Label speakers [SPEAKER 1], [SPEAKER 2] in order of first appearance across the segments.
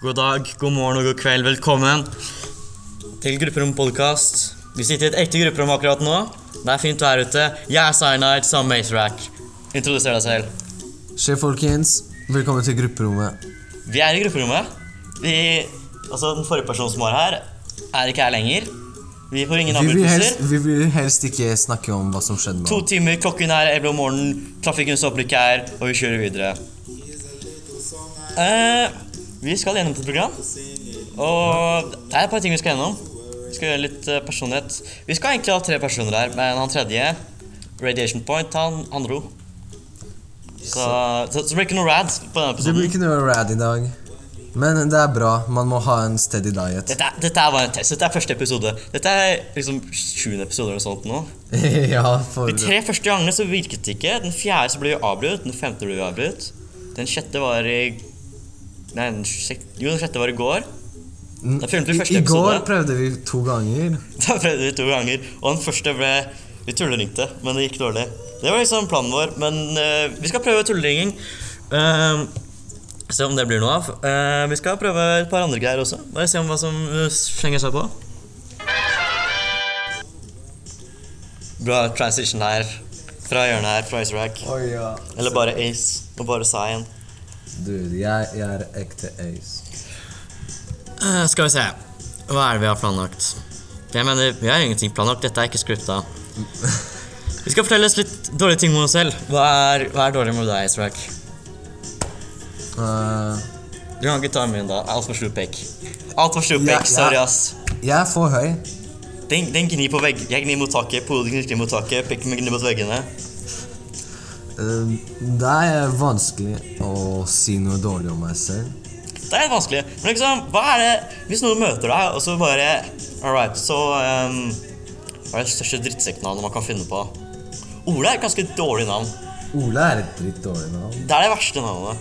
[SPEAKER 1] God dag, god morgen og god kveld. Velkommen til Grupperom podcast. Vi sitter i et ekte grupperom akkurat nå. Det er fint vær ute. Jeg er Cyanide sammen med Acerac. Introduser deg selv.
[SPEAKER 2] Skje, folkens. Velkommen til grupperommet.
[SPEAKER 1] Vi er i grupperommet. Vi, altså Den forrige personen som var her, er ikke her lenger. Vi får ingen
[SPEAKER 2] Vi vil, helst,
[SPEAKER 1] avbrytelser.
[SPEAKER 2] vi vil helst ikke snakke om hva som skjedde med
[SPEAKER 1] To
[SPEAKER 2] ham.
[SPEAKER 1] timer, klokken er elleve om morgenen, trafikken stopper ikke her, og vi kjører videre. Eh, vi skal gjennom et program, og det er et par ting vi skal gjennom. Vi skal gjøre litt eh, personlighet. Vi skal egentlig ha tre personer her, men han tredje, Radiation Point, han, han dro. Så, så, så det blir ikke noe rad på denne
[SPEAKER 2] Det blir
[SPEAKER 1] episoden.
[SPEAKER 2] ikke noe rad i dag. Men det er bra. Man må ha en steady diet.
[SPEAKER 1] Dette, er- dette er bare en test. Dette er første episode. Dette er liksom sjuende episode eller sånt nå.
[SPEAKER 2] ja, for
[SPEAKER 1] De tre første gangene så virket det ikke. Den fjerde så ble vi avbrutt. Den femte ble vi avbrutt. Den sjette var i Nei, den sjek... jo, den sjette var i går. Da filmte vi første
[SPEAKER 2] I går
[SPEAKER 1] episode.
[SPEAKER 2] prøvde vi to ganger.
[SPEAKER 1] Da prøvde vi to ganger. Og den første ble Vi tulleringte, men det gikk dårlig. Det var liksom planen vår, men eh, vi skal prøve tulleringing. Eh, se om det blir noe av. Eh, vi skal prøve et par andre greier også. Bare se om hva som eh, slenger seg på. Bra transition her. Fra hjørnet her, fra Iserac.
[SPEAKER 2] Oi, ja.
[SPEAKER 1] Eller bare Ace og bare Cyan.
[SPEAKER 2] Dude, jeg, jeg er ekte ace.
[SPEAKER 1] Eh, skal vi se. Hva er det vi har planlagt? Jeg mener, Vi har ingenting planlagt. Dette er ikke scripta. Vi skal fortelle oss litt dårlige ting om oss selv. Hva er, hva er dårlig med deg, Israak?
[SPEAKER 2] Uh,
[SPEAKER 1] Du kan ikke ta min, da. Altfor slupek. Altfor
[SPEAKER 2] Ja, ja.
[SPEAKER 1] slupek. Sorry, ass.
[SPEAKER 2] jeg er for høy.
[SPEAKER 1] Den, den gnir på vegg. Jeg gnir mot taket. Poden gnir mot taket. Pikken min gnir mot veggene.
[SPEAKER 2] Uh, det er vanskelig å si noe dårlig om meg selv.
[SPEAKER 1] Det er vanskelig. Men liksom, hva er det Hvis noen møter deg, og så bare All right, så ehm, Hva er det største drittsekknavnet man kan finne på? Ola er et ganske dårlig navn.
[SPEAKER 2] Ole er et dritt dårlig navn.
[SPEAKER 1] Det er det verste navnet.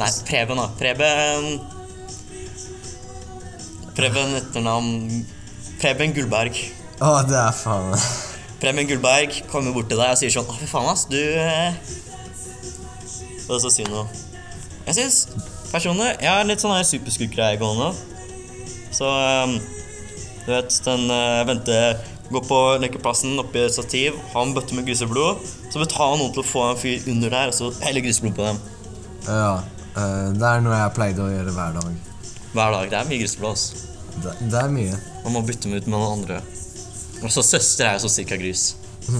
[SPEAKER 1] Nei, Preben, da. Preben Preben etternavn Preben Gullberg.
[SPEAKER 2] Å, det er faen
[SPEAKER 1] Preben Gullberg kommer bort til deg og sier sånn Å, fy faen, ass, du eh. Og så sier noe. Jeg syns personlig Jeg har litt sånn her superskurkgreie gående. Så eh, Du vet, den eh, Bente går på lekeplassen oppi et stativ, har en bøtte med griseblod, så betaler han noen til å få en fyr under der, og så heller griseblod på dem.
[SPEAKER 2] Ja, eh, det er noe jeg pleide å gjøre hver dag.
[SPEAKER 1] Hver dag. Det er mye griseblod. ass.
[SPEAKER 2] Det, det er mye.
[SPEAKER 1] Man må bytte dem ut med noen andre. Og så søster er jo sånn cirka gris.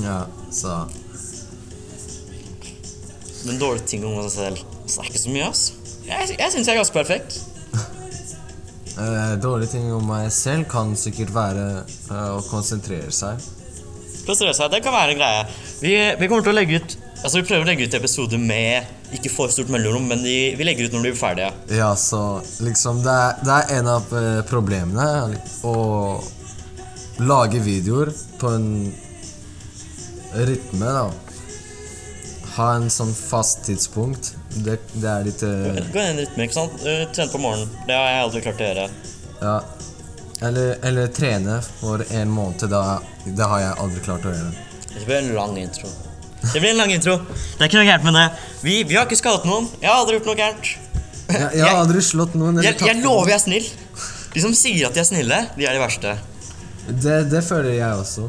[SPEAKER 2] Ja, så
[SPEAKER 1] Men dårlige ting om seg selv. Så det er ikke så mye, ass. Jeg, jeg syns jeg er ganske perfekt.
[SPEAKER 2] eh, Dårlige ting om meg selv kan sikkert være eh, å konsentrere seg.
[SPEAKER 1] Prosesser seg, det kan være en greie. Vi, vi kommer til å legge ut Altså, vi prøver å legge ut episoder med ikke for stort mellomrom, men de, vi legger ut når de blir ferdige.
[SPEAKER 2] Ja, så liksom Det er, det er en av eh, problemene er li- å lage videoer på en rytme, da. Ha en sånn fast tidspunkt. Det, det er litt eh,
[SPEAKER 1] Gå inn i en rytme, ikke sant? Eh, Trene på morgenen. Det har jeg aldri klart å gjøre.
[SPEAKER 2] Ja. Eller, eller trene for en måned. Da, det har jeg aldri klart å gjøre.
[SPEAKER 1] Det blir en lang intro. Det blir en lang intro. Det er ikke noe gærent med det. Vi, vi har ikke skadet noen. Jeg har aldri gjort noe gærent.
[SPEAKER 2] Jeg, jeg har aldri slått noen. eller
[SPEAKER 1] Jeg, jeg
[SPEAKER 2] tatt-
[SPEAKER 1] lover jeg er snill. De som sier at de er snille, de er de verste.
[SPEAKER 2] Det, det føler jeg også.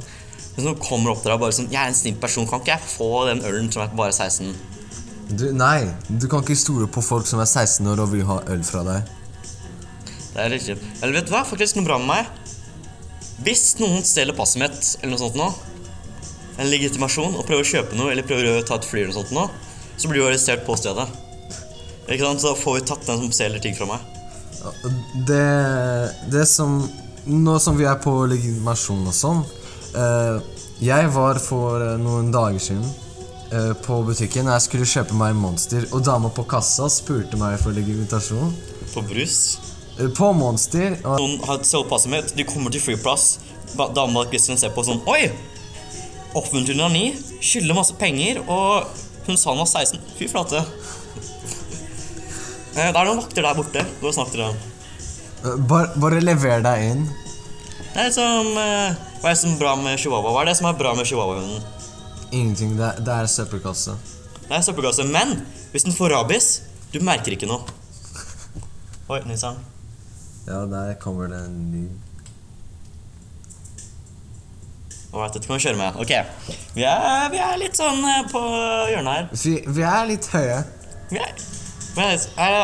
[SPEAKER 1] Men som kommer opp til deg og bare sånn 'Jeg er en snill person, kan ikke jeg få den ølen som er bare 16?'
[SPEAKER 2] Du, nei, du kan ikke stole på folk som er 16 år og vil ha øl fra deg.
[SPEAKER 1] Det er litt kjipt. Eller vet du hva? Faktisk noe bra med meg. Hvis noen stjeler passet mitt eller noe sånt nå, en legitimasjon, og prøver å kjøpe noe eller prøver å ta et fly eller noe sånt nå, så blir du arrestert på stedet. Ikke sant? Så da får vi tatt den som stjeler ting fra meg.
[SPEAKER 2] Det, det som Nå som vi er på legitimasjon og sånn eh, Jeg var for eh, noen dager siden eh, på butikken. Jeg skulle kjøpe meg Monster, og dama på kassa spurte meg for legitimasjon.
[SPEAKER 1] På brus.
[SPEAKER 2] eh, På Monster. Og
[SPEAKER 1] Noen har stjålet passet mitt, de kommer til flyplass. Ba- Dama og Kristin ser på sånn Oi! Offentlig onani. Skylder masse penger, og hun sa han var 16. Fy flate. Eh, Det er noen vakter der borte. Gå og snakk til dem.
[SPEAKER 2] eh, bare, bare lever deg inn.
[SPEAKER 1] Det er liksom eh, Hva er det som er bra med chihuahua? Hva er det som er bra med chihuahua-hunden?
[SPEAKER 2] Ingenting. Det, er- det er søppelkasse.
[SPEAKER 1] Det er søppelkasse. Men hvis den får rabies, du merker ikke noe. Oi, nisseren.
[SPEAKER 2] Ja, der kommer det en ny
[SPEAKER 1] Ålreit, dette kan vi kjøre med. Ok. Vi er, vi er litt sånn eh, på hjørnet her.
[SPEAKER 2] Vi, vi er litt høye.
[SPEAKER 1] Vi er Vent litt. Er det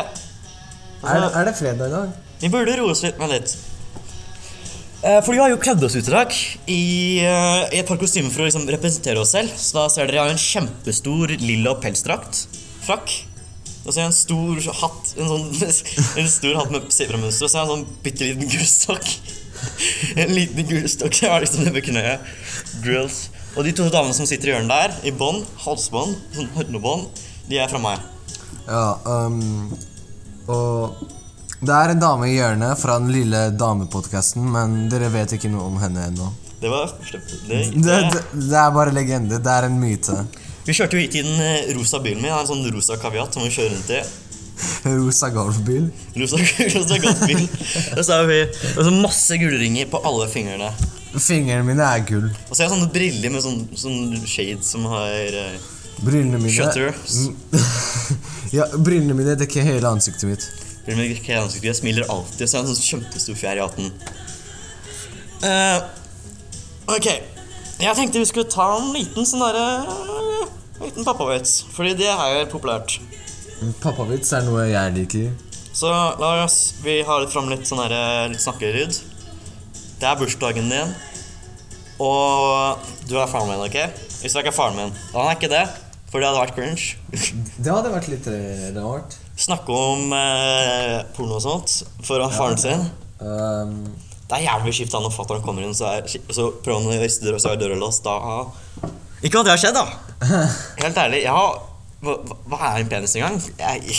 [SPEAKER 2] Er, er det fredag i dag?
[SPEAKER 1] Vi burde roe oss litt. Vent litt. Eh, For vi har jo kledd oss ut i dag i, eh, i et par kostymer for å liksom representere oss selv. Så da ser dere jeg har en kjempestor lilla pelsdrakt. Frakk. Og så har jeg en stor hatt En, sånn, en stor hatt med sebramønster, og så har jeg en sånn bitte liten gullstokk. En liten gullstokk som jeg har liksom nede ved knøet. Grills. Og de to damene som sitter i hjørnet der, i bånd, halsbånd, sånn hornebånd, de er fra meg.
[SPEAKER 2] Ja, um, og det er en dame i hjørnet fra den lille damepodkasten, men dere vet ikke noe om henne ennå.
[SPEAKER 1] Det var første det,
[SPEAKER 2] Det, det, det er bare legende. Det er en myte.
[SPEAKER 1] Vi kjørte jo hit i den eh, rosa bilen min. Jeg har en sånn rosa kaviat som vi kjører rundt i.
[SPEAKER 2] Rosa golfbil.
[SPEAKER 1] Rosa, rosa gassbil. Og så har vi og så masse gullringer på alle fingrene.
[SPEAKER 2] Fingrene mine er gull.
[SPEAKER 1] Og så har jeg sånne briller med sånn, sånn shade som har eh,
[SPEAKER 2] Brynene mine
[SPEAKER 1] Shutters.
[SPEAKER 2] Ja, brynene mine dekker hele ansiktet mitt.
[SPEAKER 1] briller med grekke i ansiktet. Jeg smiler alltid, så jeg har en sånn kjempestor fjær i hatten. Eh, ok. Jeg tenkte vi skulle ta en liten sånn derre Liten pappavits. Fordi det er jo populært.
[SPEAKER 2] Pappavits er noe jeg liker.
[SPEAKER 1] Så la oss Vi har litt fram litt sånn her Litt snakkeryd. Det er bursdagen din, og du er faren min, OK? Hvis du ikke er faren min. Og han er ikke det, for det hadde vært cringe.
[SPEAKER 2] Det hadde vært litt eh, rart.
[SPEAKER 1] Snakke om eh, porno og sånt foran faren sin.
[SPEAKER 2] Um,
[SPEAKER 1] Det er jævlig kjipt da når fatter'n kommer inn, så, er, så prøver han å riste døra, så er døra låst. Da Ikke at det har skjedd, da. Helt ærlig, jeg har Hva, hva er en penis engang? Jeg,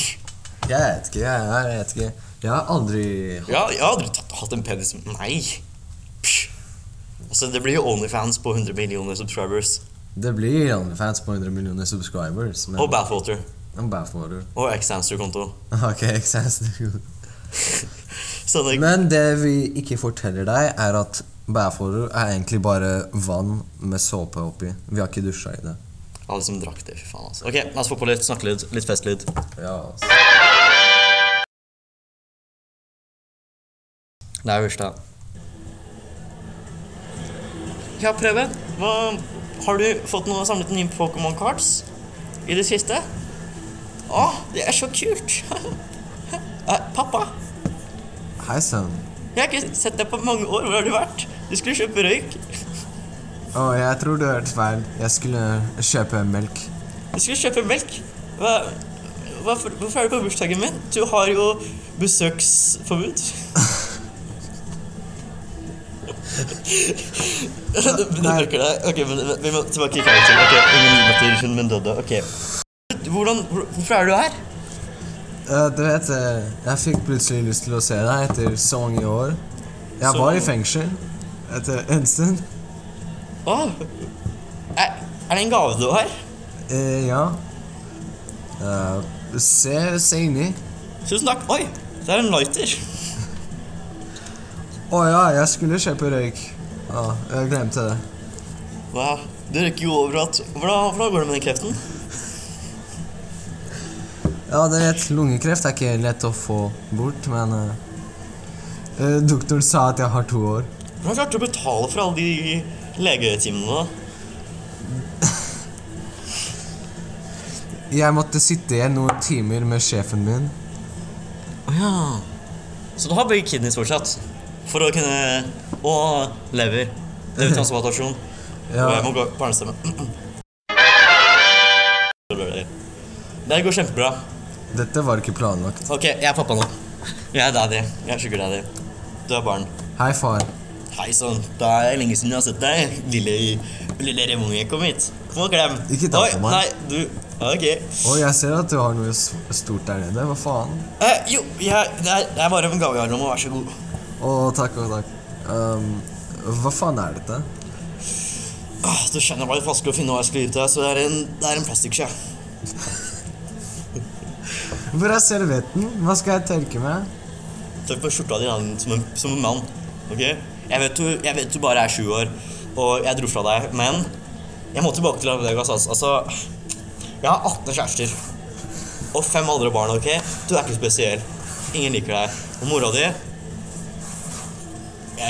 [SPEAKER 2] jeg vet ikke. Jeg, jeg vet ikke. Jeg har aldri
[SPEAKER 1] Ja, jeg har aldri tatt, hatt en penis Nei. Psh. Altså, det blir jo Onlyfans på 100 millioner subscribers.
[SPEAKER 2] Det blir OnlyFans på 100 millioner subscribers. Men
[SPEAKER 1] Og Bathwater.
[SPEAKER 2] I'm bad for it.
[SPEAKER 1] Og Xanster-konto.
[SPEAKER 2] Ok, ikke sant?
[SPEAKER 1] Så det,
[SPEAKER 2] Men det vi ikke forteller deg, er at bærforer er egentlig bare vann med såpe oppi. Vi har ikke dusja i det.
[SPEAKER 1] alle som drakk det, fy faen. altså. Ok, La oss få på litt snakkelyd. Litt festlyd.
[SPEAKER 2] Ja, altså.
[SPEAKER 1] Det er bursdag. Ja, Preben. Hva, har du fått noe samlet nye Pokémon cards i det siste? Å, det er så kult! Eh, Pappa,
[SPEAKER 2] Hei sann.
[SPEAKER 1] jeg har ikke sett deg på mange år. Hvor har du vært? Du skulle kjøpe røyk.
[SPEAKER 2] Å, jeg tror du hørte feil. Jeg skulle kjøpe melk.
[SPEAKER 1] Du skulle kjøpe melk. Hva, hva, hvorfor er du på bursdagen min? Du har jo besøksforbud. du du
[SPEAKER 2] Nei.
[SPEAKER 1] bruker det. Ok, men men vi må tilbake i karakter. Ok, ingen nyheter, men døde. Ok. Hvordan, hvor- hvorfor er du her?
[SPEAKER 2] Eh, du vet, eh, jeg fikk plutselig lyst til å se deg etter så mange år. Jeg
[SPEAKER 1] Så
[SPEAKER 2] var i
[SPEAKER 1] mange-
[SPEAKER 2] fengsel etter en stund.
[SPEAKER 1] Åh, er, er det en gave du har?
[SPEAKER 2] Eh, ja. Eh, se, se inni.
[SPEAKER 1] Tusen takk. Oi, det er en lighter.
[SPEAKER 2] Å ja, jeg skulle kjøpe røyk. Ja, jeg glemte det.
[SPEAKER 1] Wow, du røyker jo overalt. Hvordan, hvordan går det med den kreften?
[SPEAKER 2] Ja, det vet, lungekreft er ikke lett å få bort, men eh, eh, Doktoren sa at jeg har to år.
[SPEAKER 1] Hvordan klarte du å betale for alle de legetimene da?
[SPEAKER 2] Jeg måtte sitte igjen noen timer med sjefen min.
[SPEAKER 1] Å ja. Så du har begge kidneys fortsatt? For å kunne Og lever. Levertransplantasjon.
[SPEAKER 2] Ja.
[SPEAKER 1] Og jeg må gå på barnestemme. Det går kjempebra.
[SPEAKER 2] Dette var ikke planlagt.
[SPEAKER 1] Ok, jeg er pappa nå. Jeg er daddy. Jeg er sugar daddy. Du er barn.
[SPEAKER 2] Hei, far.
[SPEAKER 1] Hei sann, det er lenge siden jeg har sett deg. Lille, lille remunge, kom hit. Kom og klem.
[SPEAKER 2] Ikke ta
[SPEAKER 1] Oi,
[SPEAKER 2] på meg.
[SPEAKER 1] Nei, du Ok.
[SPEAKER 2] Å, jeg ser at du har noe s- stort der nede. Hva faen?
[SPEAKER 1] Eh, jo, jeg, det, er, det er bare en gave jeg har nå, vær så god.
[SPEAKER 2] Å, takk og takk. Um, hva faen er dette?
[SPEAKER 1] Åh, Du skjønner det var litt vanskelig å finne hva jeg skulle gi til deg, så det er en, det er en plastikksje.
[SPEAKER 2] Hvor er servietten? Hva skal jeg tørke med?
[SPEAKER 1] Tøff på skjorta di da, som en, som en mann. ok? Jeg vet, du, jeg vet du bare er sju år, og jeg dro fra deg, men jeg må tilbake til Las Vegas. Altså, altså, jeg har 18 kjærester og fem andre barn. ok? Du er ikke spesiell. Ingen liker deg. Og mora di Jeg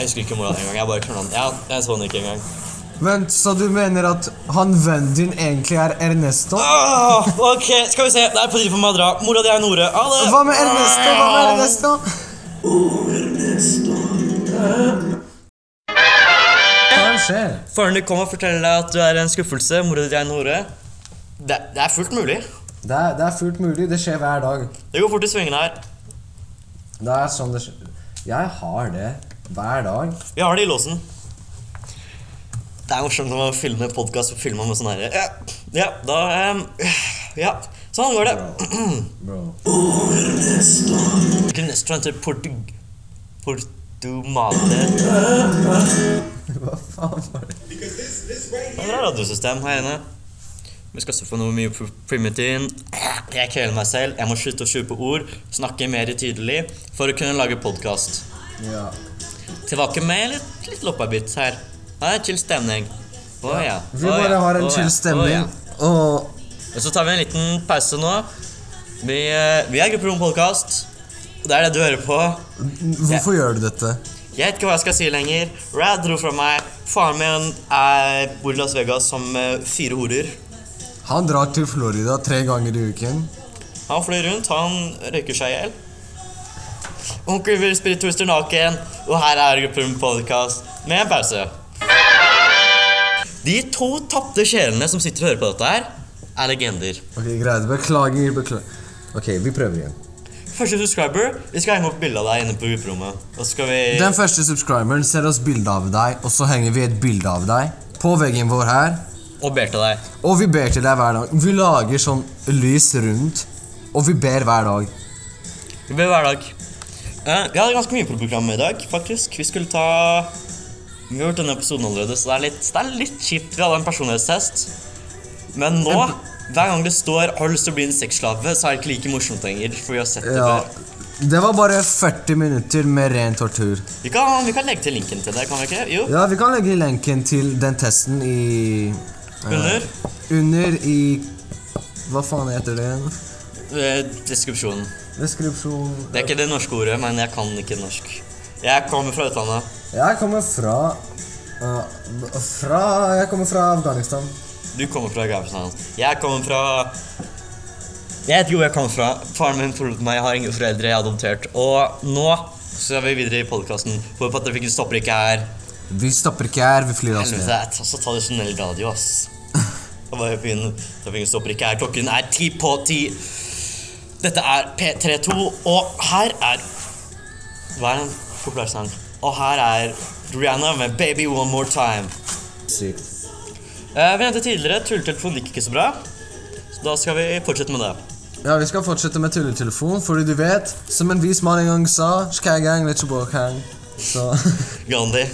[SPEAKER 1] husker ikke mora di engang. Jeg bare kjører den. Ja, jeg så den ikke engang.
[SPEAKER 2] Vent, så du mener at han vennen din egentlig er Ernesto?
[SPEAKER 1] Ah, ok, skal vi se. Det er på tide for meg å dra. Mora di er Nore. Ha det.
[SPEAKER 2] Hva med Ernesto? Hva med Ernesto? Hva skjer?
[SPEAKER 1] Faren din kommer og forteller deg at du er en skuffelse. Mora di er Nore. Det, det er fullt mulig.
[SPEAKER 2] Det er, det er fullt mulig. Det skjer hver dag.
[SPEAKER 1] Det går fort i svingene her.
[SPEAKER 2] Det er sånn det skjer. Jeg har det hver dag.
[SPEAKER 1] Vi har det i låsen. Det er morsomt å filme podkast og filme med sånn herre. Ja, ja, da em, Ja, sånn går det.
[SPEAKER 2] Bro.
[SPEAKER 1] Til neste gang til Portug... Portomate.
[SPEAKER 2] Hva faen var det?
[SPEAKER 1] Det er radiosystem her inne. Vi skal også få noe mye pr- primitin. Jeg kveler meg selv. Jeg må slutte å kjøpe ord. Snakke mer tydelig for å kunne lage podkast.
[SPEAKER 2] Ja.
[SPEAKER 1] Tilbake med litt, litt loppabits her. Ha en chill stemning. Å ja.
[SPEAKER 2] Vi
[SPEAKER 1] å
[SPEAKER 2] bare
[SPEAKER 1] ja,
[SPEAKER 2] har
[SPEAKER 1] å
[SPEAKER 2] en
[SPEAKER 1] ja, å
[SPEAKER 2] chill stemning.
[SPEAKER 1] ja.
[SPEAKER 2] Og
[SPEAKER 1] Og så tar vi en liten pause nå. Vi, eh, vi er Grupperom podkast. Det er det du hører på.
[SPEAKER 2] hvorfor gjør du dette?
[SPEAKER 1] Jeg vet ikke hva jeg skal si lenger. Rad dro fra meg. Faren min er, bor i Las Vegas som eh, fire horer.
[SPEAKER 2] Han drar til Florida tre ganger i uken.
[SPEAKER 1] Han fløy rundt, han røyker seg i hjel. Onkel vil sprittuster naken, og her er Grupperom podkast med en pause. De to tapte sjelene som sitter og hører på dette her, er legender.
[SPEAKER 2] Ok, Greit. Beklager. beklager. Ok, vi prøver igjen.
[SPEAKER 1] Første subscriber, vi skal henge opp bilde av deg inne på grupperommet. Og så skal vi
[SPEAKER 2] Den første subscriberen ser oss bilde av deg, og så henger vi et bilde av deg på veggen vår her.
[SPEAKER 1] Og ber til deg.
[SPEAKER 2] Og vi ber til deg hver dag. Vi lager sånn lys rundt, og vi ber hver dag.
[SPEAKER 1] Vi ber hver dag. Eh, vi hadde ganske mye på programmet i dag, faktisk. Vi skulle ta Vi har gjort denne episoden allerede, så det er litt, det er litt kjipt. Vi hadde en personlighetstest. Men nå, hver gang det står 'har du lyst til å bli en sexslave', så er det ikke like morsomt lenger. For vi har sett det
[SPEAKER 2] Ja.
[SPEAKER 1] før.
[SPEAKER 2] Det var bare 40 minutter med ren tortur.
[SPEAKER 1] Vi kan, vi kan legge til linken til det, kan vi ikke? Jo.
[SPEAKER 2] Ja, vi kan legge lenken til den testen i eh,
[SPEAKER 1] Under
[SPEAKER 2] Under i Hva faen heter det igjen?
[SPEAKER 1] eh, deskripsjonen.
[SPEAKER 2] Deskripsjon
[SPEAKER 1] Det er ikke det norske ordet, men jeg kan ikke norsk. Jeg kommer fra utlandet.
[SPEAKER 2] Jeg kommer fra eh, Fra Jeg kommer fra Afghanistan.
[SPEAKER 1] Du kommer fra Gausland. Jeg kommer fra Jeg vet ikke hvor jeg kommer fra. Faren min forlot meg, jeg har ingen foreldre, jeg er adoptert. Og nå skal vi videre i podkasten. Håper at trafikken stopper ikke her.
[SPEAKER 2] Vi stopper ikke her, vi flyr av
[SPEAKER 1] Helvete, altså,
[SPEAKER 2] sted.
[SPEAKER 1] det er så tradisjonell radio, ass. Og bare begynn. Trafikken stopper ikke her. Klokken er ti på ti. Dette er P32, og her er Hva er den populære sangen? Og her er Rihanna med 'Baby One More Time'.
[SPEAKER 2] Sykt.
[SPEAKER 1] Eh, vi nevnte tidligere tulletelefonen gikk ikke så bra, så da skal vi fortsette med det.
[SPEAKER 2] Ja, vi skal fortsette med tulletelefon, fordi du vet, som en vis mann en gang sa Skægang, vet ikke hvor gang. Så
[SPEAKER 1] Gandhi.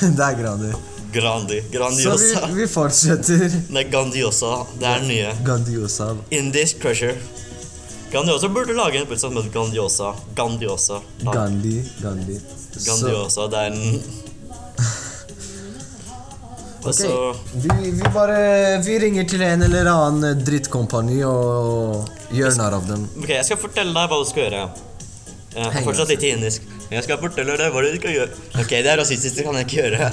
[SPEAKER 2] det er grader.
[SPEAKER 1] Grandi.
[SPEAKER 2] Så
[SPEAKER 1] Grandiosa.
[SPEAKER 2] vi, vi fortsetter.
[SPEAKER 1] Nei, Gandiosa. Det er den nye.
[SPEAKER 2] Gandiosa.
[SPEAKER 1] Indisk Crusher. Gandiosa burde lage en pølse som heter Gandiosa. Gandiosa. Da-
[SPEAKER 2] Gandhi. Gandhi. Så,
[SPEAKER 1] Gandiosa, det er den Og
[SPEAKER 2] ok,
[SPEAKER 1] så
[SPEAKER 2] vi, vi bare Vi ringer til en eller annen drittkompani og gjør narr av dem.
[SPEAKER 1] Ok, jeg skal fortelle deg hva du skal gjøre. Jeg er
[SPEAKER 2] Heng
[SPEAKER 1] fortsatt
[SPEAKER 2] deg.
[SPEAKER 1] litt indisk. Men jeg skal fortelle deg hva du skal gjøre. Ok, det er rasistisk, det kan jeg ikke gjøre.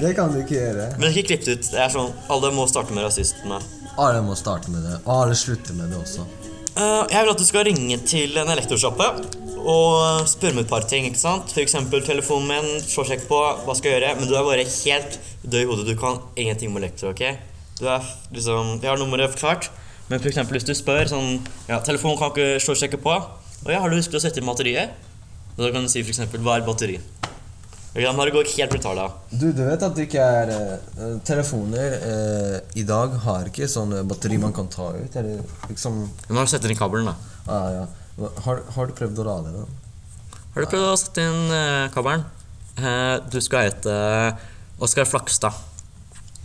[SPEAKER 2] Det kan du ikke gjøre.
[SPEAKER 1] Men det er ikke klippet ut. Det er sånn, Alle må starte med rasistene.
[SPEAKER 2] Alle må starte med det. Og alle slutter med det også.
[SPEAKER 1] Eh, jeg vil at du skal ringe til en elektrosjappe og spørre om et par ting. ikke sant? F.eks. telefonen min. Slå sjekk på hva skal jeg gjøre. Men du er bare helt død i hodet. Du kan ingenting med elektro. ok? Du er f- liksom, Jeg har nummeret forklart, men for eksempel hvis du spør sånn ja, 'Telefonen kan ikke slå sjekke på.' 'Å ja, har du husket å sette inn batteriet?' Og Da kan du si f.eks. 'Hva er batteri?' Ok, da må du gå helt brutalt av.
[SPEAKER 2] Du, du vet at det ikke er eh, Telefoner eh, i dag har ikke sånn eh, batteri man kan ta ut. Eller liksom
[SPEAKER 1] Du må sette inn kabelen, da.
[SPEAKER 2] ah, ja. har, har du prøvd å lade den?
[SPEAKER 1] Har du prøvd å sette inn eh, kabelen? Eh, du skal hete Oskar Flakstad.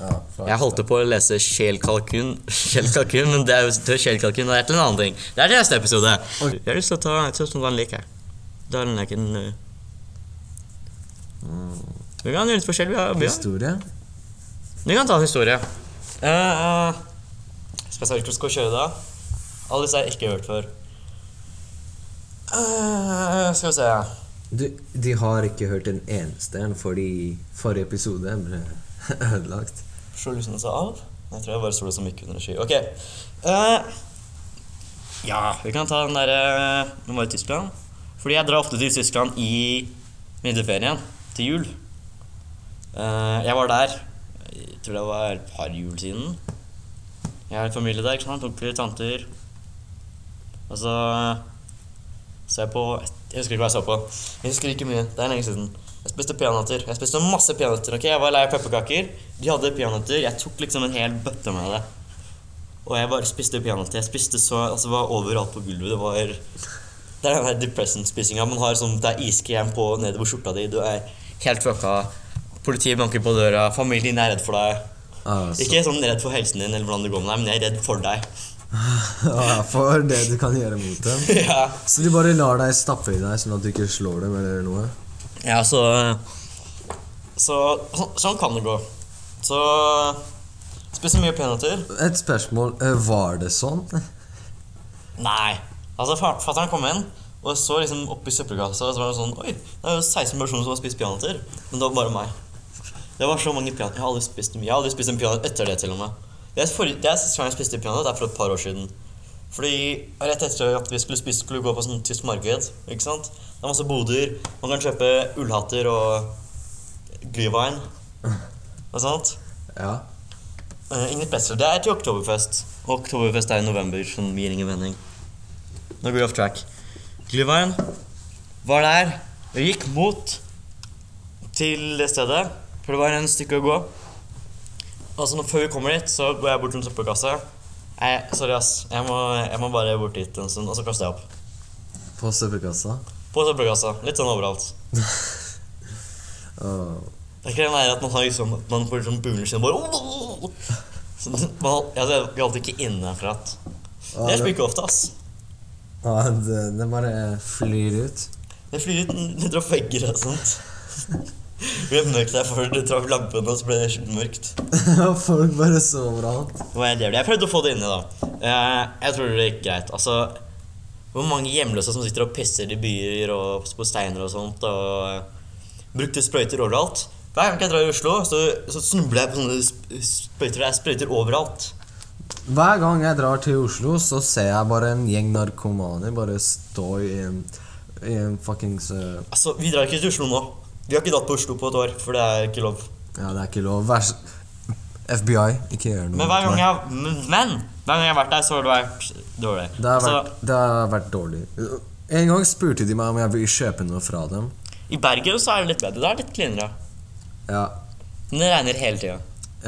[SPEAKER 2] Ja, fra-
[SPEAKER 1] Jeg holdt på å lese Kjelkalkun, Kjelkalkun, men det er jo til Kjelkalkun, det er til en annen ting. Det er til neste episode.
[SPEAKER 2] Ok.
[SPEAKER 1] Jeg har lyst til å ta, jeg synes det var en lek her. Da er den leken... øh. Mm. Vi kan gjøre litt forskjell, vi har, vi har.
[SPEAKER 2] Historie?
[SPEAKER 1] Vi kan ta en historie. Eh, eh, skal jeg se hvilken skal kjøre da? Alle disse har jeg ikke hørt før. Eh, skal vi se
[SPEAKER 2] Du, de har ikke hørt en eneste en, fordi forrige episode ble ødelagt.
[SPEAKER 1] Slå lysene seg av? Jeg tror jeg bare sola så mye under en sky. Ok. Eh, ja, vi kan ta den derre Nå var i Tyskland. Fordi jeg drar ofte til Tyskland i vinterferien. Til jul. Eh, jeg var der jeg tror det var et par jul siden. Jeg har en familie der, ikke sant? onkler, tanter. Og så eh, så jeg på Jeg husker ikke hva jeg så på. Jeg husker ikke mye. Det er lenge siden. Jeg spiste peanøtter. Jeg spiste masse peanøtter. ok? Jeg var lei av pepperkaker. De hadde peanøtter. Jeg tok liksom en hel bøtte med det. Og jeg bare spiste peanøtter. Jeg spiste så Altså, det var overalt på gulvet. Det var Det er den der depressant-spisinga. Man har sånn Det er iskrem på nede på skjorta di. Du er helt fucka. Politiet banker på døra. Familien er redd for deg.
[SPEAKER 2] Altså,
[SPEAKER 1] Ikke sånn redd for helsen din, eller hvordan det går med deg, men jeg er redd for deg.
[SPEAKER 2] ja, for det du kan gjøre mot dem.
[SPEAKER 1] ja.
[SPEAKER 2] Så de bare lar deg stappe i deg, sånn at du ikke slår dem eller noe?
[SPEAKER 1] Ja, så Så så- sånn kan det gå. Så Spiser mye peanøtter.
[SPEAKER 2] Et spørsmål. eh, Var det sånn?
[SPEAKER 1] Nei. Altså, fa- Fatter'n kom inn og så liksom oppi søppelkassa, og så var det sånn Oi, det er jo 16 personer som har spist peanøtter. Men det var bare meg. Det var så mange peanøtter. Jeg har aldri spist så mye. Jeg har aldri spist en peanøtt etter det, til og med. Det er, for, det er siste gang jeg spiste peanøtt, det er for et par år siden. Fordi rett etter at vi skulle spise, skulle vi gå på sånn tysk marked. ikke sant? Det er masse boder. Man kan kjøpe ullhatter og glühwein og sånt.
[SPEAKER 2] Ja.
[SPEAKER 1] Eh, Ingrid Petzler, det er til Oktoberfest. Og Oktoberfest er i november, sånn gir ingen mening. Nå går vi off track. Glühwein var der. Vi gikk mot til det stedet, for det var en stykke å gå. Og så nå før vi kommer dit, så går jeg bort til en søppelkasse. Nei, sorry, ass. Jeg må, jeg må bare bort dit en stund, og så kaster jeg opp.
[SPEAKER 2] På søppelkassa?
[SPEAKER 1] På søppelkassa. Litt sånn overalt.
[SPEAKER 2] Åh.
[SPEAKER 1] Det er ikke den der at man har liksom at Man får sånn buler sin og bare så, man, Jeg gjaldt ikke innenfra.
[SPEAKER 2] Ja,
[SPEAKER 1] Det
[SPEAKER 2] det-
[SPEAKER 1] er ikke ofte, ass.
[SPEAKER 2] Ja, det, det bare flyr ut.
[SPEAKER 1] Det flyr ut litt traff vegger og sånt. Ble mørkt der før det traff lampene, og så ble det skikkelig mørkt.
[SPEAKER 2] Og Folk bare så overalt.
[SPEAKER 1] Det var helt jævlig. Jeg prøvde å få det inni, da. Eh, Jeg tror det gikk greit. Altså, hvor mange hjemløse som sitter og pisser i byer og på steiner og sånt, og eh, brukte sprøyter overalt. Hver gang jeg drar i Oslo, så, så snubler jeg på sånne sp- sprøyter. Det er sprøyter overalt.
[SPEAKER 2] Hver gang jeg drar til Oslo, så ser jeg bare en gjeng narkomane bare stå i en, i en fuckings eh,
[SPEAKER 1] Altså, vi drar ikke til Oslo nå. Vi har ikke dratt på Oslo på et år, for det er ikke lov.
[SPEAKER 2] Ja, det er ikke lov. Vær så FBI, ikke gjør noe.
[SPEAKER 1] Men hver gang
[SPEAKER 2] mot meg.
[SPEAKER 1] jeg, men, men, hver gang jeg har vært der, så har det vært dårlig.
[SPEAKER 2] det, har
[SPEAKER 1] Altså,
[SPEAKER 2] vært, det har vært dårlig. En gang spurte de meg om jeg ville kjøpe noe fra dem.
[SPEAKER 1] I Bergen så er det litt bedre. Det er litt cleanere.
[SPEAKER 2] Ja,
[SPEAKER 1] Men det regner hele tida.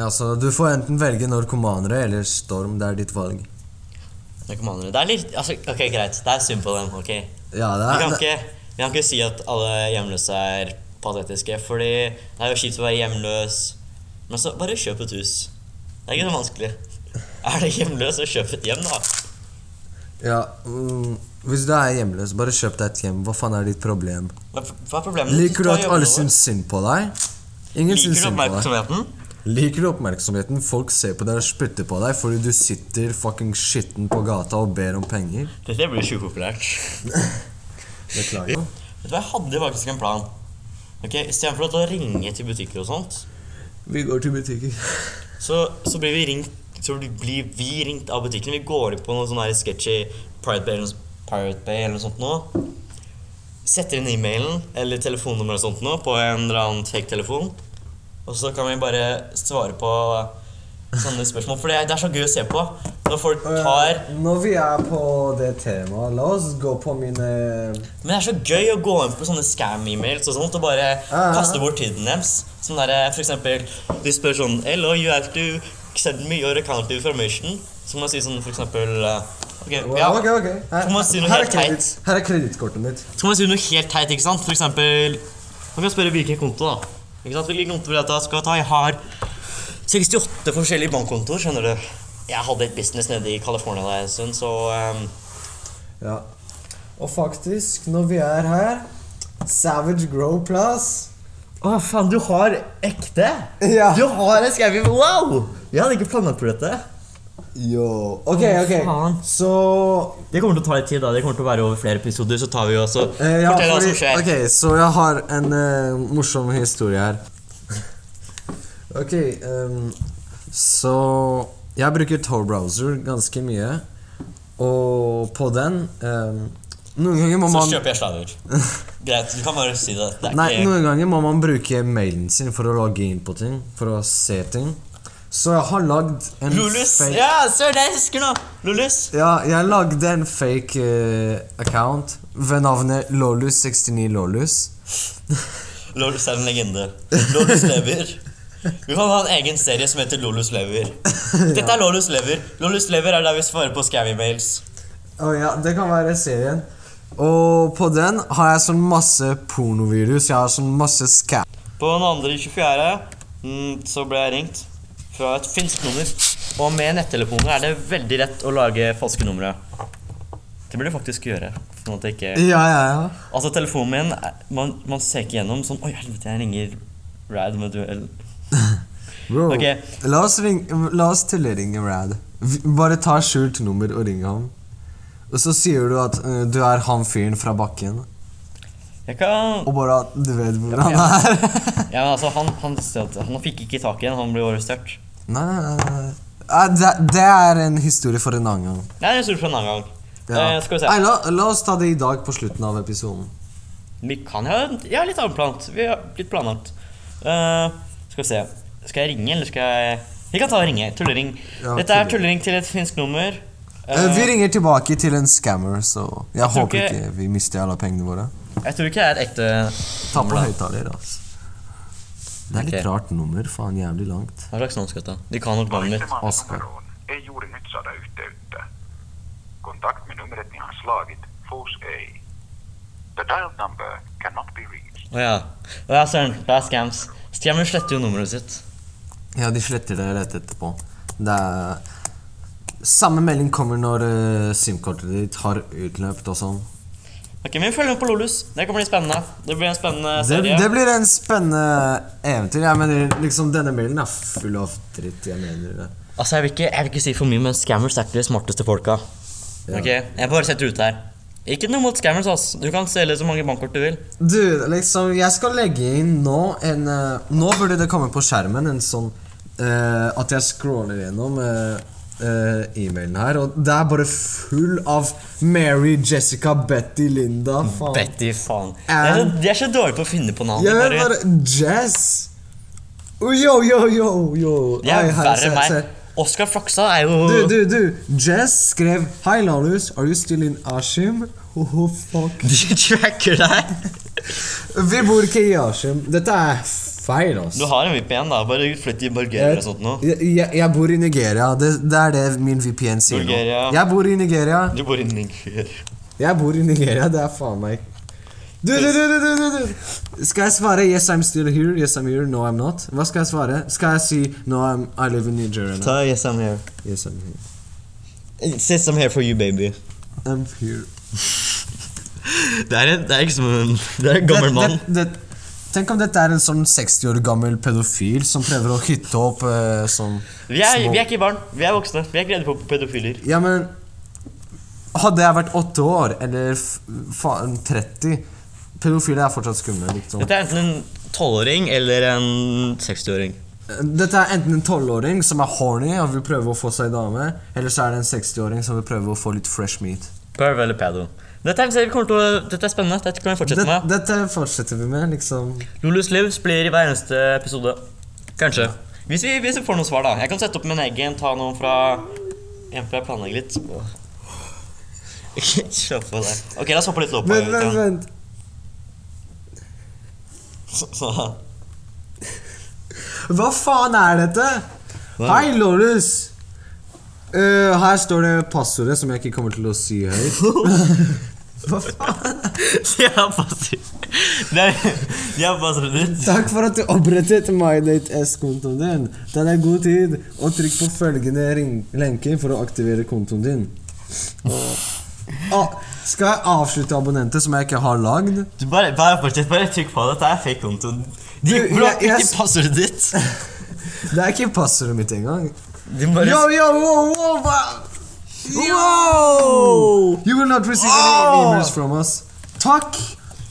[SPEAKER 2] altså Du får enten velge narkomanere eller Storm. Det er ditt valg.
[SPEAKER 1] Narkomanere. Det er litt altså, Ok, greit. Det er synd på dem. ok?
[SPEAKER 2] Ja, det
[SPEAKER 1] Vi
[SPEAKER 2] er,
[SPEAKER 1] kan ikke, vi kan ikke si at alle hjemløse er patetiske, fordi det er jo kjipt å være hjemløs. Men så bare kjøp et hus. Det er ikke så vanskelig. Er du hjemløs, så kjøp et hjem, da.
[SPEAKER 2] ja, mm, Hvis du er hjemløs, bare kjøp deg et hjem. Hva faen er ditt problem?
[SPEAKER 1] Hva, hva er problemet?
[SPEAKER 2] Liker du
[SPEAKER 1] Ta
[SPEAKER 2] at
[SPEAKER 1] jobben
[SPEAKER 2] alle
[SPEAKER 1] vår.
[SPEAKER 2] syns synd på deg? Ingen
[SPEAKER 1] Liker
[SPEAKER 2] syns
[SPEAKER 1] du
[SPEAKER 2] synd på deg.
[SPEAKER 1] oppmerksomheten?
[SPEAKER 2] Liker du oppmerksomheten? Folk ser på deg og spytter på deg fordi du sitter fucking skitten på gata og ber om penger.
[SPEAKER 1] Dette blir sjukepopulært.
[SPEAKER 2] Beklager.
[SPEAKER 1] Vet du hva, jeg hadde faktisk en plan. Ok, Istedenfor å ringe til butikker og sånt,
[SPEAKER 2] Vi går til butikken.
[SPEAKER 1] Så, så blir vi ringt Så blir vi ringt av butikken. Vi går inn på noe sånn her sketchy Pirate Bay, eller noe sånt- Pirate Bay eller noe sånt nå. Setter inn e-mailen eller telefonnummeret og sånt nå på en eller annen fake-telefon. Og så kan vi bare svare på sånne spørsmål. For det er, det er så gøy å se på når folk tar
[SPEAKER 2] Eh, Når vi er på det temaet, la oss gå på mine eh,
[SPEAKER 1] Men det er så gøy å gå inn på sånne scam-emails og sånt og bare
[SPEAKER 2] ja, ja.
[SPEAKER 1] kaste bort tiden deres. Sånn der, for eksempel, du spør sånn Hello, you have to send me your account information. Så må man si sånn for eksempel eh, Ok, ja.
[SPEAKER 2] Ok, ok. Her,
[SPEAKER 1] Kan man si noe
[SPEAKER 2] her er
[SPEAKER 1] helt
[SPEAKER 2] kreditt- her er kredittkortet mitt.
[SPEAKER 1] Så må man si noe helt teit, ikke sant? For eksempel Man kan spørre hvilken konto, da. Ikke sant? Hvilken konto vil jeg at jeg skal ta? Jeg har 68 forskjellige bankkontoer, skjønner du. Jeg hadde et business nede i California da en stund, så eh,
[SPEAKER 2] Ja. Og faktisk, når vi er her Savage Grow Plass
[SPEAKER 1] Å, faen, du har ekte?
[SPEAKER 2] Ja.
[SPEAKER 1] Du har en skrevet Wow! Jeg hadde ikke planlagt på dette.
[SPEAKER 2] Yo. Ok, ok.
[SPEAKER 1] faen.
[SPEAKER 2] Så
[SPEAKER 1] Det kommer til å ta litt tid, da. Det kommer til å være over flere episoder. Så tar vi jo også
[SPEAKER 2] eh, ja,
[SPEAKER 1] Fortell hva
[SPEAKER 2] fordi-
[SPEAKER 1] som skjer.
[SPEAKER 2] Ok, så jeg har en eh, morsom historie her. ok, ehm, så Jeg bruker Tor browser ganske mye, og på den ehm, Noen ganger må
[SPEAKER 1] Så
[SPEAKER 2] man
[SPEAKER 1] kjøper jeg slaver. Greit, du kan bare si det. Det er
[SPEAKER 2] Nei,
[SPEAKER 1] ikke
[SPEAKER 2] noen ganger må man bruke mailen sin for å logge inn på ting. For å se ting. Så jeg har lagd en
[SPEAKER 1] Lulus!
[SPEAKER 2] fake
[SPEAKER 1] Ja, sør, det jeg husker nå! Lulus.
[SPEAKER 2] Ja, jeg lagde en fake eh, account ved navnet Lolus69Lolus.
[SPEAKER 1] Lolus er en legende. Lolus lever. Vi kan ha en egen serie som heter Lolus lever. Dette er Lolus lever. Lolus lever er der vi svarer på scammy mails.
[SPEAKER 2] Å ja, det kan være serien. Og på den har jeg sånn masse pornovirus. Jeg har sånn masse scam.
[SPEAKER 1] På den andre 24. mm, så ble jeg ringt fra et finsk nummer. Og med nettelefoner er det veldig lett å lage falske numre. Det burde du faktisk gjøre. Sånn at det ikke
[SPEAKER 2] Ja, ja, ja.
[SPEAKER 1] Altså, telefonen min er- man, man ser ikke gjennom sånn Oi, helvete, jeg ringer Rad med duell.
[SPEAKER 2] Bro.
[SPEAKER 1] Ok.
[SPEAKER 2] La oss, ring, la oss tulleringe Rad. Vi- Bare ta skjult nummer og ring ham. Og så sier du at eh, du er han fyren fra bakken.
[SPEAKER 1] Jeg kan
[SPEAKER 2] Og bare at du vet hvor
[SPEAKER 1] Ja,
[SPEAKER 2] han er.
[SPEAKER 1] Ja, men altså, han, han, stjal- han fikk ikke tak i den, han ble arrestert.
[SPEAKER 2] nei, nei, nei, nei. Ah, Det, det er en historie for en annen gang.
[SPEAKER 1] Nei, det er stort for en annen gang. Eh, skal vi se.
[SPEAKER 2] Nei, la, la oss ta det i dag på slutten av episoden.
[SPEAKER 1] Vi kan ha ja, litt avplant. Vi har litt planlagt. Eh, skal vi se. Skal jeg ringe, eller skal jeg Vi kan ta og ringe. Tullering.
[SPEAKER 2] Ja,
[SPEAKER 1] Dette er
[SPEAKER 2] tullering.
[SPEAKER 1] tullering til et finsk nummer.
[SPEAKER 2] Eh,
[SPEAKER 1] Eh,
[SPEAKER 2] vi ringer tilbake til en scammer, så jeg,
[SPEAKER 1] tror
[SPEAKER 2] håper
[SPEAKER 1] ikke-
[SPEAKER 2] ikke... vi mister alle pengene våre.
[SPEAKER 1] jeg tror ikke det er et ekte
[SPEAKER 2] Ta på
[SPEAKER 1] nummer, da.
[SPEAKER 2] høyttaler, altså. Det er litt
[SPEAKER 1] Ok.
[SPEAKER 2] rart nummer. Faen, jævlig langt.
[SPEAKER 1] Hva slags navn skal jeg ta? De kan nok navnet mitt.
[SPEAKER 3] Valitsemanne
[SPEAKER 2] Oskar.
[SPEAKER 3] numeroon ei juuri nyt saada yhteyttä. Kontaktmi numerot ihan slaavit, fuus ei. The dial number cannot be reached.
[SPEAKER 1] Å ja. Å ja, søren. Det er scams. Stjerner sletter jo nummeret sitt.
[SPEAKER 2] Ja, de sletter det rett etterpå. Det er Samme melding kommer når eh, SIM-kortet ditt har utløpt og sånn.
[SPEAKER 1] Ok, men vi følger med på Lolus. Det kan bli spennende. Det blir en spennende
[SPEAKER 2] Det,
[SPEAKER 1] serie.
[SPEAKER 2] det blir en spennende eventyr. Jeg mener, liksom, Denne mailen er full av dritt. Jeg mener det.
[SPEAKER 1] Altså, jeg vil, ikke, jeg vil ikke si for mye, men scammers er ikke de smarteste folka.
[SPEAKER 2] Ja.
[SPEAKER 1] Ok, Jeg bare setter ut her. Ikke noe mot scammers, ass. Du kan selge så mange bankkort du vil.
[SPEAKER 2] Du, liksom, jeg skal legge inn nå en eh, Nå burde det komme på skjermen en sånn eh, At jeg scroller gjennom eh, eh, e-mailen her, og det er bare full av Mary, Jessica, Betty, Linda faen.
[SPEAKER 1] Betty, faen. De
[SPEAKER 2] Ja.
[SPEAKER 1] er, så, de er så dårlige på å finne på navn.
[SPEAKER 2] Jeg
[SPEAKER 1] de
[SPEAKER 2] vet
[SPEAKER 1] bare-
[SPEAKER 2] bare Jess! Oh, yo, yo, yo, yo.
[SPEAKER 1] de er
[SPEAKER 2] Oi, her,
[SPEAKER 1] verre
[SPEAKER 2] se,
[SPEAKER 1] enn
[SPEAKER 2] se.
[SPEAKER 1] meg. Oskar Flakstad er jo
[SPEAKER 2] Du, du, du! Jess skrev Hei, Lanus, are you still in Askim? Oh, fuck.
[SPEAKER 1] De tracker deg.
[SPEAKER 2] Vi bor ikke i Askim. Dette er feil, ass.
[SPEAKER 1] Du har en VPN, da. Bare flytt i Bulgaria
[SPEAKER 2] Jeg,
[SPEAKER 1] eller sånt nå.
[SPEAKER 2] jeg, jeg, jeg bor i Nigeria. Det, det er det min VPN sier nå.
[SPEAKER 1] Bulgaria.
[SPEAKER 2] Jeg bor i Nigeria.
[SPEAKER 1] Du bor i Ningfjord.
[SPEAKER 2] Jeg bor i Nigeria, det er faen meg du, du, du, du, du, du, du. Skal jeg svare 'yes, I'm still here', 'yes, I'm here', 'no, I'm not'? Hva skal jeg svare? Skal jeg si 'no, I'm, I live in Nigeria'? now?
[SPEAKER 1] Ta Yes, I'm here.
[SPEAKER 2] Yes, I'm here.
[SPEAKER 1] It says I'm here for you, baby.
[SPEAKER 2] I'm here.
[SPEAKER 1] Det er, en, det er ikke som en Det er en gammel
[SPEAKER 2] Det-
[SPEAKER 1] mann.
[SPEAKER 2] Det, det, tenk om dette er en sånn 60 år gammel pedofil som prøver å hytte opp eh, sånn
[SPEAKER 1] Vi er,
[SPEAKER 2] små-
[SPEAKER 1] vi er ikke barn. Vi er voksne. Vi er ikke redde for pedofiler.
[SPEAKER 2] Ja, men Hadde jeg vært åtte år, eller f- faen 30 Pedofile er fortsatt skumle. Liksom.
[SPEAKER 1] Dette er enten en tolvåring eller en 60-åring.
[SPEAKER 2] Dette er enten en tolvåring som er horny og vil prøve å få seg dame, eller så er det en 60-åring som vil prøve å få litt fresh meat.
[SPEAKER 1] Perv eller pedo. Dette er, en serie vi kommer til å, dette er spennende. Dette kan vi fortsette
[SPEAKER 2] Det,
[SPEAKER 1] med.
[SPEAKER 2] dette fortsetter vi med, liksom.
[SPEAKER 1] Lulus Livs blir i hver eneste episode. Kanskje. Hvis vi, hvis vi får noen svar, da. Jeg kan sette opp min egen, ta noen fra En fra jeg planlegger litt. Åh. Slapp av der. Ok, la oss hoppe litt opp.
[SPEAKER 2] Vent, vent, vent. Hva faen er dette?
[SPEAKER 1] Hva?
[SPEAKER 2] Hei, Lorus. Eh, her står det passordet som jeg ikke kommer til å si høyt. Hva faen?
[SPEAKER 1] De har passet De har- de har passet ditt.
[SPEAKER 2] Takk for at du opprettet MyDateS-kontoen din. Den er god tid, og trykk på følgende ring- lenke for å aktivere kontoen din. Å, skal jeg avslutte abonnentet som jeg ikke har lagd?
[SPEAKER 1] Du bare, bare fortsett, bare trykk på det. Dette er fake konto. De
[SPEAKER 2] Du,
[SPEAKER 1] blokker
[SPEAKER 2] jeg- jeg-
[SPEAKER 1] ikke passordet ditt.
[SPEAKER 2] Det er ikke passordet mitt engang.
[SPEAKER 1] De bare
[SPEAKER 2] Yo, yo, wow, wow, wow.
[SPEAKER 1] Wow!
[SPEAKER 2] You will not receive
[SPEAKER 1] Åh!
[SPEAKER 2] any emails from us. Takk!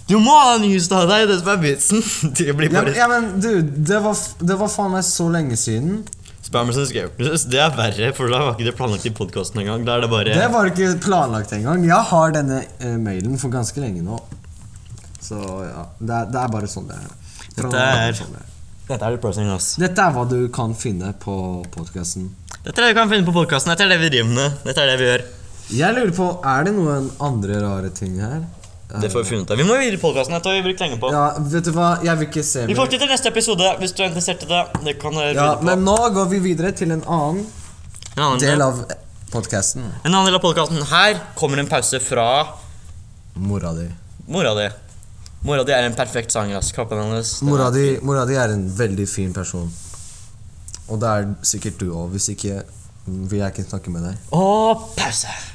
[SPEAKER 1] Du må ha en hus av deg, det som er vitsen. De blir
[SPEAKER 2] Ja, men-
[SPEAKER 1] bare
[SPEAKER 2] ja, men du, det var, f- det var faen meg så lenge siden.
[SPEAKER 1] Spammers and scammers. Det er verre, for da var ikke det planlagt i podkasten engang. Da er det bare
[SPEAKER 2] Det var ikke planlagt engang. Jeg har denne eh, mailen for ganske lenge nå. Så ja, det er, det er bare sånn det er. Fra nå
[SPEAKER 1] Dette
[SPEAKER 2] av
[SPEAKER 1] er-
[SPEAKER 2] sånn det er.
[SPEAKER 1] Dette er depressing, ass.
[SPEAKER 2] Dette er hva du kan finne på podkasten.
[SPEAKER 1] Dette er det vi kan finne på podkasten. Dette er det vi driver med. Dette er det vi gjør.
[SPEAKER 2] Jeg lurer på, er det noen andre rare ting her?
[SPEAKER 1] Det får vi funnet ut av. Vi må videre i podkasten. Dette har vi brukt lenge på.
[SPEAKER 2] Ja, vet du hva, jeg vil ikke se
[SPEAKER 1] Vi
[SPEAKER 2] mer.
[SPEAKER 1] fortsetter neste episode hvis du er interessert i det. Det kan dere
[SPEAKER 2] Ja,
[SPEAKER 1] begynne på.
[SPEAKER 2] men nå går vi videre til en annen
[SPEAKER 1] en annen
[SPEAKER 2] del
[SPEAKER 1] del av,
[SPEAKER 2] av podkasten.
[SPEAKER 1] en annen del av podkasten. Her kommer en pause fra
[SPEAKER 2] Mora di.
[SPEAKER 1] mora di. Mora di er en perfekt sanger. ass. Kroppen hennes den
[SPEAKER 2] Mora
[SPEAKER 1] er-
[SPEAKER 2] di, mora di er en veldig fin person. Og det er sikkert du òg, hvis ikke mm, vil jeg ikke snakke med deg.
[SPEAKER 1] Og pause.